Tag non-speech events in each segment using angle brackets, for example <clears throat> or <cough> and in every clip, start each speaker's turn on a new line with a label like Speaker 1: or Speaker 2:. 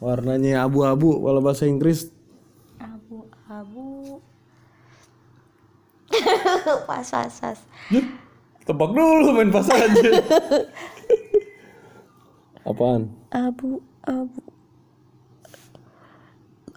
Speaker 1: Warnanya abu-abu kalau bahasa Inggris
Speaker 2: abu-abu <laughs> pas pas pas
Speaker 1: Yud, tebak dulu main pas aja. Apaan?
Speaker 2: abu abu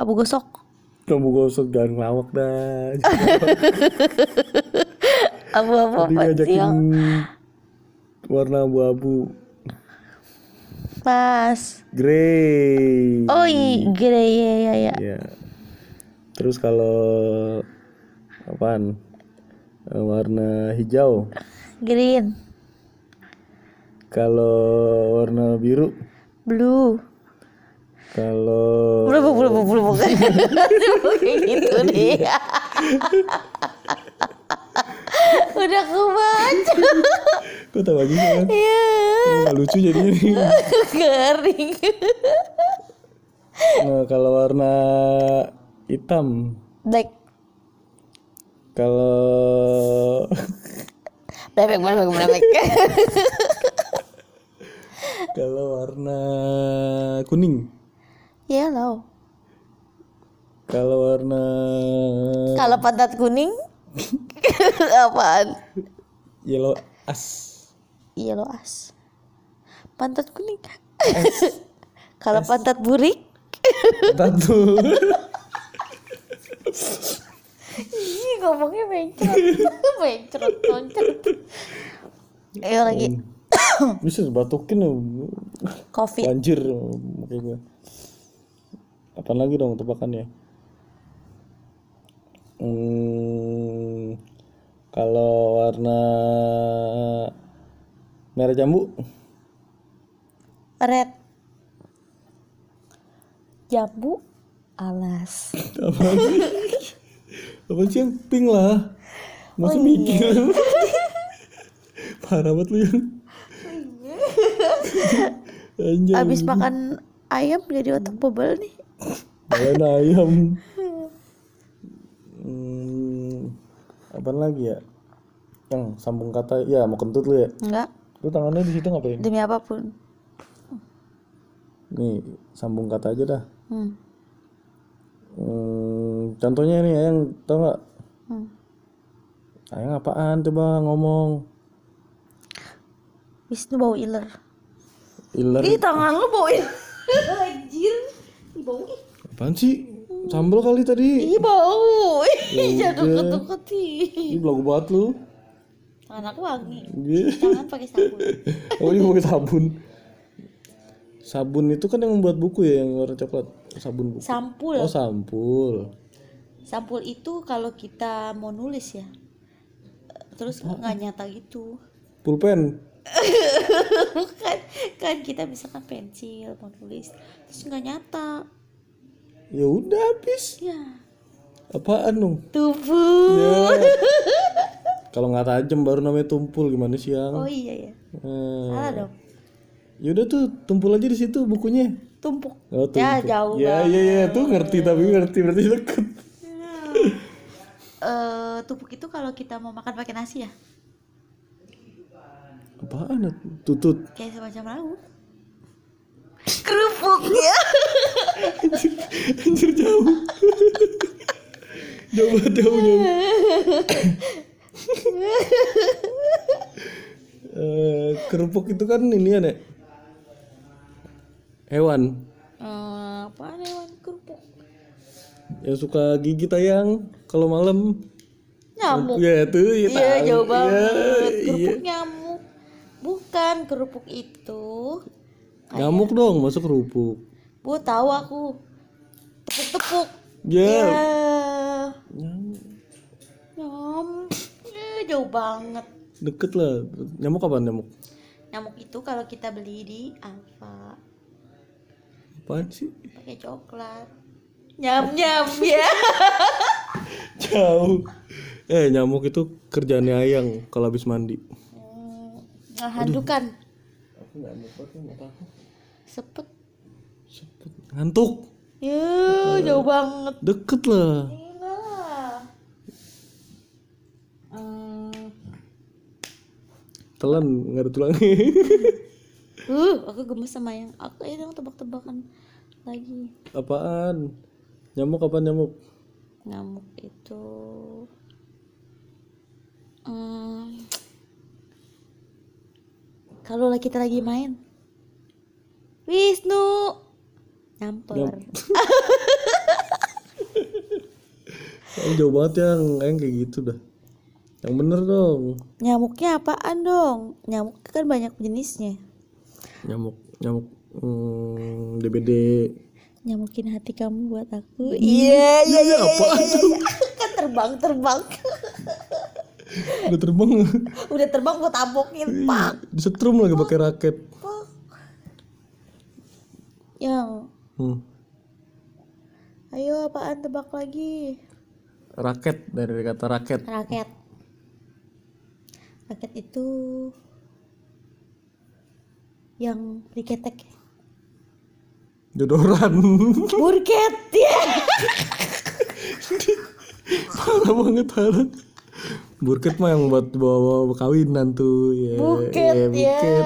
Speaker 2: abu gosok
Speaker 1: Kamu gosok jangan ngelawak dah.
Speaker 2: abu
Speaker 1: Tadi
Speaker 2: abu Iya. apa sih
Speaker 1: ngajakin
Speaker 2: yang
Speaker 1: warna abu-abu.
Speaker 2: pas
Speaker 1: Grey.
Speaker 2: oh i grey ya ya ya
Speaker 1: Ya. Terus kalau apaan? Eh, Warna hijau.
Speaker 2: green
Speaker 1: Kalau warna biru,
Speaker 2: blue
Speaker 1: kalau
Speaker 2: blue blue blue blue blue kayak gitu deh <laughs> udah kebaca
Speaker 1: kok tahu lagi kan?
Speaker 2: ya
Speaker 1: Nggak lucu jadinya nih.
Speaker 2: kering
Speaker 1: Nah, kalau warna hitam,
Speaker 2: black
Speaker 1: kalau
Speaker 2: black black black black black
Speaker 1: kalau warna kuning,
Speaker 2: yellow
Speaker 1: kalau warna
Speaker 2: kalau pantat kuning <laughs> apaan
Speaker 1: yellow as,
Speaker 2: yellow as pantat kuning <laughs> kalau pantat burik
Speaker 1: tato,
Speaker 2: Ih, ngomongnya <laughs> mencret mencret mencret ayo lagi
Speaker 1: bisa batukin ya,
Speaker 2: covid
Speaker 1: banjir muka gue. Apa lagi dong tebakannya? Hmm, kalau warna merah jambu,
Speaker 2: red jambu alas
Speaker 1: apa sih? apa sih yang pink lah masa
Speaker 2: Oh, iya.
Speaker 1: mikir parah banget lu yang anjay
Speaker 2: abis makan ayam jadi otak bobol nih
Speaker 1: makan ayam hmm, apa lagi ya yang sambung kata ya mau kentut lu ya
Speaker 2: enggak
Speaker 1: lu tangannya di situ ngapain
Speaker 2: demi apapun
Speaker 1: nih sambung kata aja dah
Speaker 2: hmm.
Speaker 1: Hmm, contohnya nih ayang tau nggak
Speaker 2: Hmm.
Speaker 1: ayang apaan coba ngomong
Speaker 2: Wisnu bau iler
Speaker 1: iler
Speaker 2: Ih tangan lu bau iler <laughs> Anjir Ih, bau ih.
Speaker 1: Apaan sih? Sambel kali tadi.
Speaker 2: Ih bau Ih jangan deket-deket ih.
Speaker 1: Ini belagu banget lu.
Speaker 2: Anak wangi
Speaker 1: Iya.
Speaker 2: Jangan pakai sabun
Speaker 1: Oh ini pakai sabun. Sabun itu kan yang membuat buku ya yang warna coklat. Sabun buku.
Speaker 2: Sampul
Speaker 1: Oh sampul.
Speaker 2: Sampul itu kalau kita mau nulis ya Terus nggak nyata gitu <laughs>
Speaker 1: Pulpen.
Speaker 2: Bukan Kan kita misalkan pensil mau nulis Terus nggak nyata
Speaker 1: Ya udah habis.
Speaker 2: Ya
Speaker 1: Apaan dong?
Speaker 2: Tubuh
Speaker 1: Ya. Kalau nggak tajam baru namanya tumpul gimana siang?
Speaker 2: Oh iya ya
Speaker 1: Eh,
Speaker 2: Salah dong
Speaker 1: ya udah tuh tumpul aja di situ bukunya.
Speaker 2: Tumpuk
Speaker 1: Oh,
Speaker 2: Ya
Speaker 1: tumpul.
Speaker 2: jauh
Speaker 1: Ya
Speaker 2: banget
Speaker 1: ya ya tuh ngerti tapi ngerti berarti deket.
Speaker 2: Eh, Tumpuk itu kalau kita mau makan pakai nasi ya
Speaker 1: Apaan? ya? Tutut.
Speaker 2: kayak semacam lauk kerupuknya
Speaker 1: Anjir jauh. jauh banget jauh jauh. Eh, kerupuk itu kan ini ya, Nek. Hewan
Speaker 2: Eh, apa hewan kerupuk
Speaker 1: yang suka gigit tayang kalau malam.
Speaker 2: nyamuk
Speaker 1: Ya tuh, ya
Speaker 2: iya
Speaker 1: tahu.
Speaker 2: jauh banget
Speaker 1: Ya, iya.
Speaker 2: kerupuk nyamuk bukan kerupuk itu
Speaker 1: Nyamuk dong masuk kerupuk.
Speaker 2: bu tahu aku tepuk-tepuk Iya.
Speaker 1: Ya.
Speaker 2: ya
Speaker 1: Nyamuk.
Speaker 2: nyamuk Ya, jauh banget
Speaker 1: Deket lah. Nyamuk apa nyamuk?
Speaker 2: nyamuk itu kalau kita beli di Alfa
Speaker 1: Apaan sih?
Speaker 2: pakai coklat nyam nyam <laughs> ya
Speaker 1: Jauh. Eh nyamuk itu kerjaannya ayang kalau habis mandi.
Speaker 2: Hmm, nah, handukan sepet
Speaker 1: Ngantuk.
Speaker 2: Yuh, jauh banget.
Speaker 1: Deket lah.
Speaker 2: Hmm.
Speaker 1: Telan nggak ada tulangnya. <laughs>
Speaker 2: Uh, aku gemes sama yang aku ini yang tebak-tebakan lagi
Speaker 1: Apaan? Nyamuk kapan nyamuk?
Speaker 2: ngamuk itu hmm, kalau lagi- kita lagi main Wisnu nyamper
Speaker 1: Yang jauh banget yang, yang kayak gitu dah. Yang bener dong.
Speaker 2: nyamuknya apaan dong nyamuk kan banyak jenisnya
Speaker 1: Nyamuk, nyamuk hmm, DBD.
Speaker 2: nyamukin hati kamu buat aku iya iya iya
Speaker 1: apa?
Speaker 2: iya, iya. kan terbang terbang
Speaker 1: Udah terbang. <laughs>
Speaker 2: udah terbang gue tabokin pak
Speaker 1: Disetrum lagi pakai raket.
Speaker 2: yang
Speaker 1: Hmm.
Speaker 2: Ya, ayo apaan tebak lagi
Speaker 1: Raket dari kata raket.
Speaker 2: raket raket itu yang diketek
Speaker 1: Jodoran. <laughs>
Speaker 2: burket ya
Speaker 1: Parah banget parah. Burket mah yang buat bawa kawinan tuh. ya
Speaker 2: buket
Speaker 1: ya,
Speaker 2: ya
Speaker 1: buket.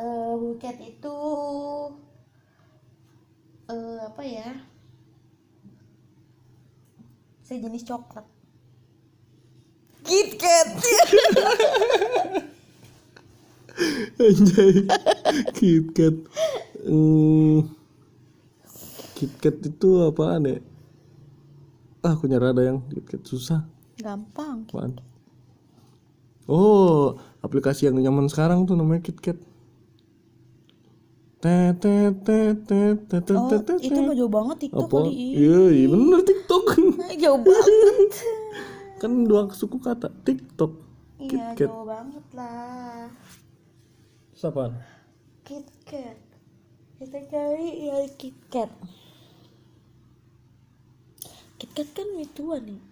Speaker 2: Eh, buket itu eh apa ya sejenis coklat ya. KitKat
Speaker 1: Anjay. KitKat. Hmm. KitKat itu apaan ya? Ah, aku nyerah ada yang KitKat susah.
Speaker 2: gampang
Speaker 1: Apaan? Oh, aplikasi yang nyaman sekarang tuh namanya KitKat. Te te te te te te
Speaker 2: oh
Speaker 1: te te
Speaker 2: itu mah jauh banget TikTok
Speaker 1: Apa?
Speaker 2: <laughs> kali Nah,
Speaker 1: Iya, iya bener TikTok. <laughs>
Speaker 2: jauh banget
Speaker 1: kan dua suku kata TikTok.
Speaker 2: iya
Speaker 1: KitKat.
Speaker 2: jauh banget lah
Speaker 1: Siapa?
Speaker 2: KitKat kita cari ya, yang KitKat KitKat kan mituan nih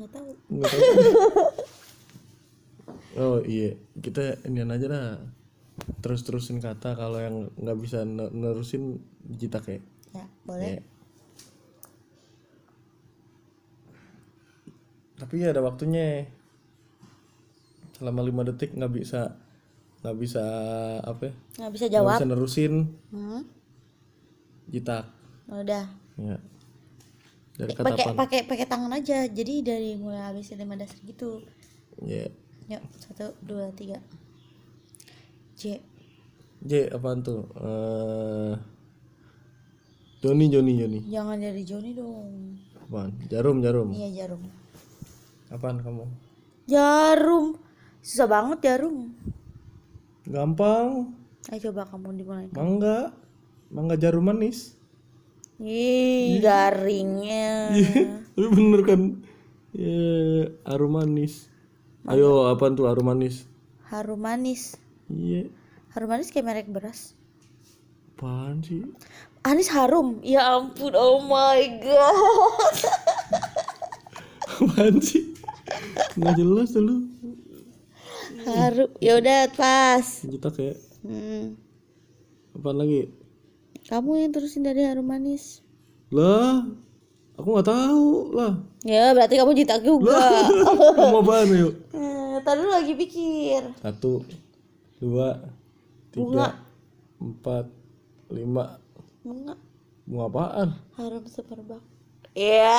Speaker 2: nggak tahu
Speaker 1: Nggak tahu. <laughs> oh iya, kita inian aja dah. Terus-terusin kata kalau yang nggak bisa ne- nerusin jitak ya.
Speaker 2: ya boleh
Speaker 1: Iya. Tapi ya ada waktunya. Selama 5 detik nggak bisa nggak bisa apa? ya,
Speaker 2: nggak bisa
Speaker 1: Nggak
Speaker 2: jawab
Speaker 1: bisa nerusin
Speaker 2: hmm? oh,
Speaker 1: jitak.
Speaker 2: udah
Speaker 1: Ya. Dari kata
Speaker 2: pakai
Speaker 1: apa?
Speaker 2: pakai pakai tangan aja jadi dari mulai habis lima dasar gitu
Speaker 1: Ya.
Speaker 2: yuk satu dua tiga J
Speaker 1: J apaan tuh? Eh Joni Joni Joni.
Speaker 2: jangan dari Joni dong
Speaker 1: Apaan? Jarum jarum.
Speaker 2: iya jarum
Speaker 1: Apaan kamu?
Speaker 2: jarum susah banget jarum
Speaker 1: Gampang.
Speaker 2: ayo coba kamu dimulai
Speaker 1: Mangga. Mangga jarum manis.
Speaker 2: Ih, garingnya.
Speaker 1: <laughs> Tapi bener kan? Ya, arum manis. Ayo, apaan tuh arum manis?
Speaker 2: Harum manis.
Speaker 1: Iya,
Speaker 2: Harum manis kayak merek beras.
Speaker 1: apaan sih? <laughs>
Speaker 2: Anis harum. Ya ampun, oh my god.
Speaker 1: Apaan sih? Nggak jelas dulu.
Speaker 2: Harum. Ya udah, pas.
Speaker 1: Kita kayak
Speaker 2: Hmm.
Speaker 1: ya. apaan lagi?
Speaker 2: Kamu yang terusin dari harum manis.
Speaker 1: Lah, aku nggak tahu lah.
Speaker 2: Ya, berarti kamu jitak
Speaker 1: <laughs>
Speaker 2: juga.
Speaker 1: Kamu apaan yuk?
Speaker 2: Eh, Tadi lu lagi pikir.
Speaker 1: Satu, dua,
Speaker 2: Bunga.
Speaker 1: tiga, empat, lima.
Speaker 2: Bunga
Speaker 1: Bunga apaan?
Speaker 2: harum semerbak. Ya.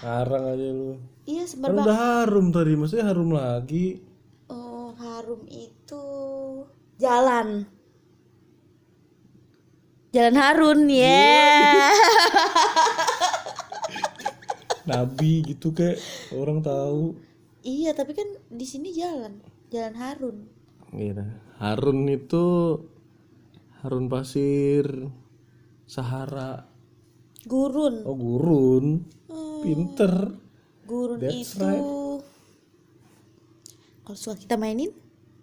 Speaker 1: Karang aja lu.
Speaker 2: Iya,
Speaker 1: Kan
Speaker 2: semerbak.
Speaker 1: udah harum tadi, maksudnya harum lagi.
Speaker 2: Oh, harum itu jalan. Jalan Harun, ya.
Speaker 1: Nabi gitu kayak orang tahu.
Speaker 2: Iya, tapi kan di sini jalan, jalan Harun.
Speaker 1: Gitu. Harun itu Harun pasir Sahara.
Speaker 2: Gurun.
Speaker 1: Oh, gurun. Pinter.
Speaker 2: Gurun
Speaker 1: That's
Speaker 2: itu kalau suka kita mainin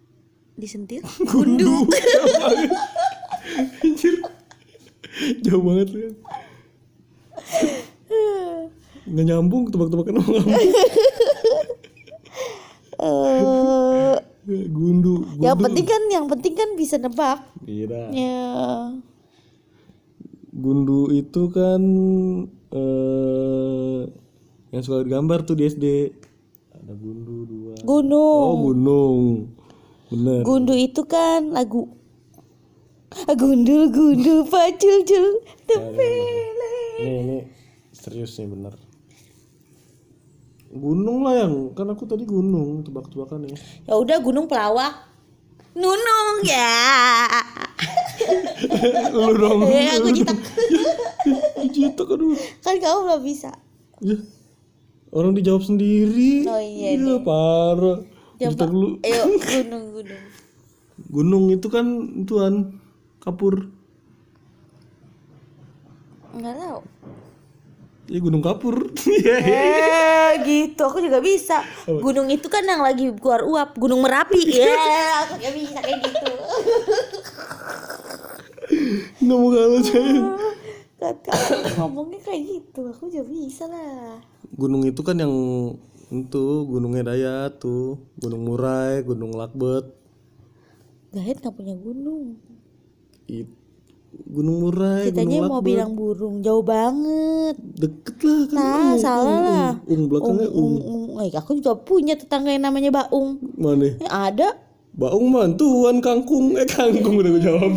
Speaker 1: <laughs>
Speaker 2: disentil Eh,
Speaker 1: Gunduk. Jauh banget. Anjir. Jauh banget ya. Nggak nyambung tebak-tebakan sama kamu.
Speaker 2: Eh,
Speaker 1: Gundu,
Speaker 2: yang
Speaker 1: gundu.
Speaker 2: penting kan yang penting kan bisa nebak.
Speaker 1: Gila.
Speaker 2: Ya.
Speaker 1: Iya. Gundu itu kan eh yang suka gambar tuh di SD. Ada gundu dua.
Speaker 2: Gunung.
Speaker 1: Oh gunung, bener.
Speaker 2: Gundu itu kan lagu. Gundul gundul pacul cul tepele.
Speaker 1: Nih ini serius nih bener. Gunung lah yang kan aku tadi gunung tebak-tebakan ya.
Speaker 2: Ya udah gunung pelawak. Nunung ya.
Speaker 1: Lu dong.
Speaker 2: Eh aku
Speaker 1: <laughs>
Speaker 2: jitak.
Speaker 1: Jitak aduh.
Speaker 2: Kan kamu belum bisa.
Speaker 1: Ya. Orang dijawab sendiri.
Speaker 2: Oh, iya
Speaker 1: Gila, parah. Jitak lu.
Speaker 2: Ayo gunung gunung.
Speaker 1: Gunung itu kan tuan kapur.
Speaker 2: Enggak tahu.
Speaker 1: Ya gunung kapur. <laughs> Iya.
Speaker 2: Eh gitu aku juga bisa. Gunung itu kan yang lagi keluar uap, gunung <laughs> Merapi. Ya, aku juga bisa kayak gitu.
Speaker 1: Nggak mau kalah saya.
Speaker 2: Kata aku Kan ngomongnya kayak gitu, aku juga bisa lah.
Speaker 1: Gunung itu kan yang itu gunungnya Daya tuh, Gunung Murai, Gunung Lakbet.
Speaker 2: Gahit nggak punya gunung.
Speaker 1: It- Gunung Murai,
Speaker 2: Kitanya
Speaker 1: Gunung
Speaker 2: mau
Speaker 1: Lakbet.
Speaker 2: bilang burung, jauh banget.
Speaker 1: Deket lah kan.
Speaker 2: Nah,
Speaker 1: ung,
Speaker 2: salah
Speaker 1: ung,
Speaker 2: lah.
Speaker 1: Ung, ung belakangnya um. ung.
Speaker 2: Ung, ung, ung. Eh, aku juga punya tetangga yang namanya Baung.
Speaker 1: Mana?
Speaker 2: Eh, ada.
Speaker 1: Baung man, tuan kangkung. Eh kangkung udah gue jawab.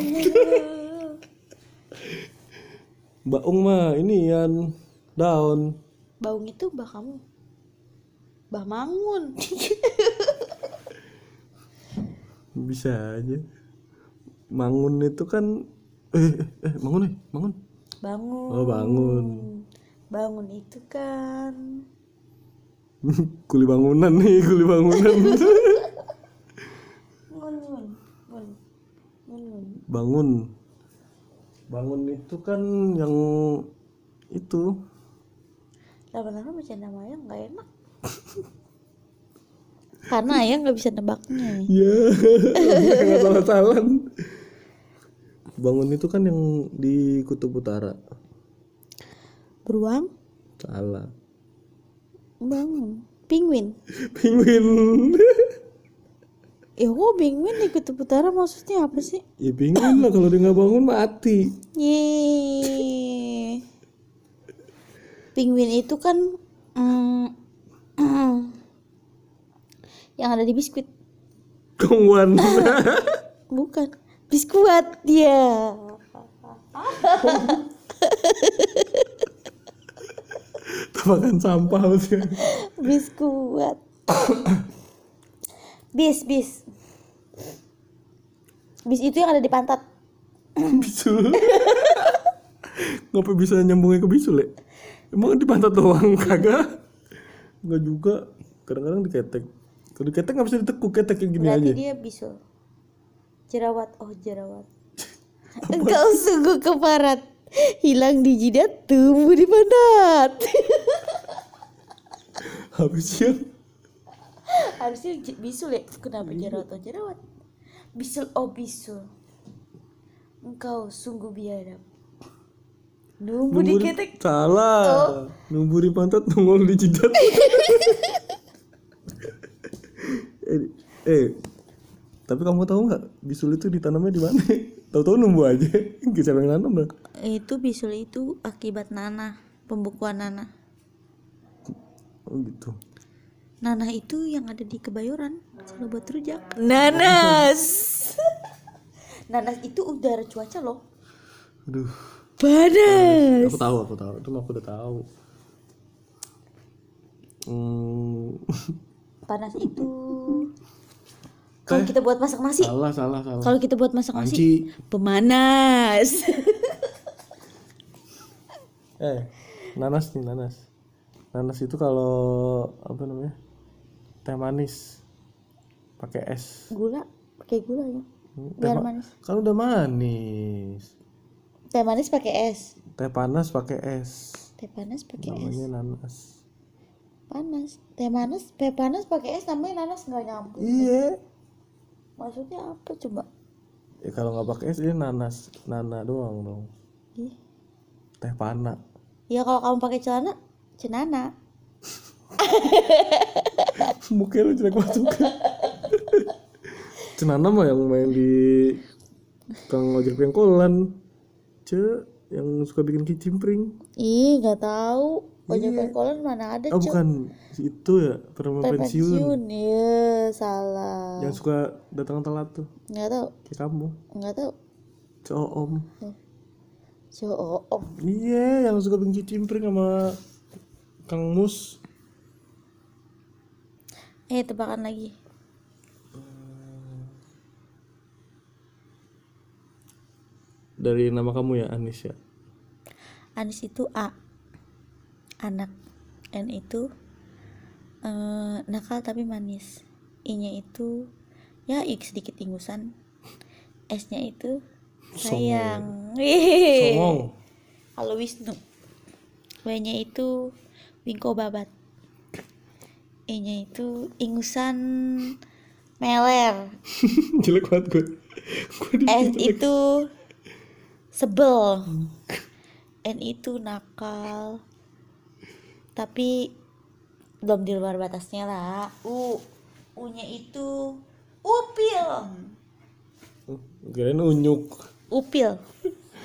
Speaker 1: Baung mah ini yang daun.
Speaker 2: Baung itu bah kamu. Bah
Speaker 1: <laughs>
Speaker 2: Mangun.
Speaker 1: Bisa aja. Mangun itu kan eh eh, eh mangun eh mangun. <laughs>
Speaker 2: Bangun.
Speaker 1: Oh bangun.
Speaker 2: Bangun itu kan.
Speaker 1: kuli bangunan nih, kuli bangunan. <laughs>
Speaker 2: Ngun, ngun, ngun. Ngun, ngun.
Speaker 1: bangun. Bangun itu kan yang itu
Speaker 2: Lama-lama bercanda sama Ayang gak
Speaker 1: <laughs>
Speaker 2: enak. Karena Ayang gak bisa nebaknya.
Speaker 1: <laughs> Ya, nggak salah salan. Bangun itu kan yang di Kutub Utara.
Speaker 2: Beruang,
Speaker 1: <laughs> Salah.
Speaker 2: bangun. Penguin.
Speaker 1: Penguin.
Speaker 2: Ya kok penguin di Kutub Utara maksudnya apa sih?
Speaker 1: ya penguin lah kalau dia nggak bangun mati.
Speaker 2: Yeay. Penguin itu kan mm, <clears throat> yang ada di biskuit.
Speaker 1: <laughs> Kongguan.
Speaker 2: Bukan. Biskuat dia.
Speaker 1: Tebakan sampah maksudnya.
Speaker 2: Biskuat. <coughs> bis, bis. Bis itu yang ada di pantat.
Speaker 1: Bisul. Ngapa bisa nyambungnya ke bisul ya? Emang di pantat doang kagak? Nggak juga. Kadang-kadang diketek. Kalau diketek nggak bisa ditekuk ketek kayak gini
Speaker 2: Berarti
Speaker 1: aja.
Speaker 2: dia bisul. Jerawat, oh jerawat. Engkau sungguh keparat. Hilang di jidat, tumbuh di pantat. <laughs>
Speaker 1: Habis siang.
Speaker 2: Harusnya j- bisul ya. Kenapa jerawat oh jerawat? Bisul oh bisul. Engkau sungguh biadab. Nunggu
Speaker 1: Numbu di-
Speaker 2: diketek.
Speaker 1: Salah. Numbu di pantat, nongol di <laughs> jidat. eh, eh, tapi kamu tahu nggak bisul itu ditanamnya di mana? Tahu-tahu numbu aja. Nggak Siapa yang nanam dah?
Speaker 2: Itu bisul itu akibat nanah, pembekuan nanah.
Speaker 1: Oh gitu.
Speaker 2: Nanah itu yang ada di Kebayoran kalau buat rujak. Nanas. <laughs> Nanas itu udara cuaca loh.
Speaker 1: Aduh.
Speaker 2: Panas.
Speaker 1: Aku tahu, aku tahu. Itu mah aku udah tahu. Hmm, <laughs>
Speaker 2: Panas itu. Kalau kita buat masak nasi,
Speaker 1: salah, salah, salah.
Speaker 2: kalau kita buat masak nasi,
Speaker 1: Panci.
Speaker 2: pemanas.
Speaker 1: Eh, nanas nih, nanas. Nanas itu kalau apa namanya? Teh manis. Pakai es.
Speaker 2: gula pakai gula
Speaker 1: Teh
Speaker 2: ya biar
Speaker 1: ma-
Speaker 2: manis
Speaker 1: Kan udah manis.
Speaker 2: teh manis pakai es
Speaker 1: Teh panas pakai es.
Speaker 2: teh panas pakai es
Speaker 1: Namanya nanas.
Speaker 2: panas teh manis teh panas pakai es namanya nanas nggak nyambung
Speaker 1: Iya.
Speaker 2: maksudnya apa coba
Speaker 1: Ya, kalau nggak pakai es ini nanas, nana doang dong.
Speaker 2: Ih.
Speaker 1: Teh panas.
Speaker 2: ya kalau kamu pakai celana cenana
Speaker 1: <laughs> Mukanya lu jelek banget juga. <laughs> Cenana mah yang main di Kang Ojek Pengkolan. Ce, yang suka bikin kicimpring.
Speaker 2: ih nggak tahu ojek
Speaker 1: Iya.
Speaker 2: pengkolan mana ada
Speaker 1: Oh
Speaker 2: Cuk.
Speaker 1: bukan, si itu ya, perempuan
Speaker 2: Teh
Speaker 1: pensiun. Ya.
Speaker 2: pensiun iya salah
Speaker 1: Yang suka datang telat tuh,
Speaker 2: nggak tahu
Speaker 1: kayak kamu.
Speaker 2: nggak tahu
Speaker 1: Coom.
Speaker 2: Coom.
Speaker 1: Iya, yang suka bikin cimpring sama Kang Mus.
Speaker 2: Eh, tebakan lagi.
Speaker 1: Dari nama kamu ya, Anis ya.
Speaker 2: Anis itu A. Anak. N itu eh, nakal tapi manis. I-nya itu ya I sedikit ingusan. S-nya itu sayang. Wih.
Speaker 1: Songong. <laughs>
Speaker 2: Halo Wisnu. W-nya itu Wingko Babat. E-nya itu ingusan meler.
Speaker 1: Jelek banget gue. Gue di-
Speaker 2: S itu sebel. N itu nakal. Tapi belum di luar batasnya lah. U U-nya itu upil.
Speaker 1: Kirain unyuk.
Speaker 2: Upil.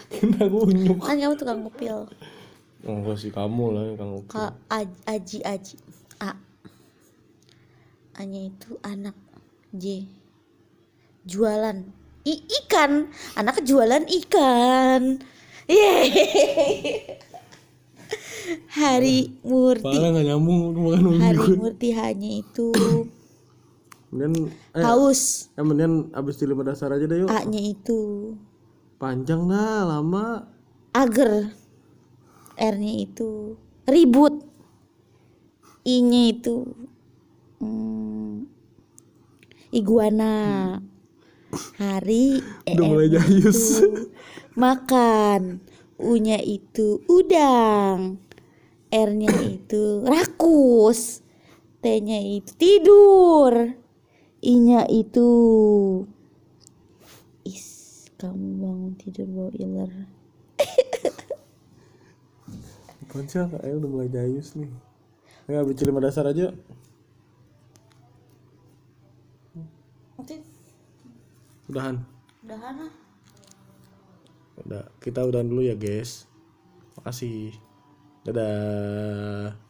Speaker 1: Kirain aku unyuk.
Speaker 2: Kan kamu tukang upil.
Speaker 1: Enggak sih kamu lah yang Kang Uki.
Speaker 2: Ka aj- aji aji A. A-nya itu anak. J. Jualan. I ikan. Anak jualan ikan. <laughs> Yeay. Hari Murti.
Speaker 1: Parah gak nyambung lu makan unyuk.
Speaker 2: Hari Murti hanya itu
Speaker 1: Kemudian eh
Speaker 2: haus.
Speaker 1: eh, mendingan abis di lima dasar aja deh yuk.
Speaker 2: A-nya itu
Speaker 1: Panjang dah, lama.
Speaker 2: ager. R-nya itu ribut. I-nya itu mm, iguana. Hari
Speaker 1: Udah mulai
Speaker 2: EM
Speaker 1: jayus.
Speaker 2: itu <laughs> makan. U-nya itu udang. R-nya itu rakus. T-nya itu tidur. I-nya itu is kamu bangun tidur bawa iler.
Speaker 1: Panjang kayaknya udah mulai jayus nih. Ya abis di lima dasar aja. yuk. Udahan.
Speaker 2: Udahan lah.
Speaker 1: Udah, kita udahan dulu ya, guys. Makasih. Dadah.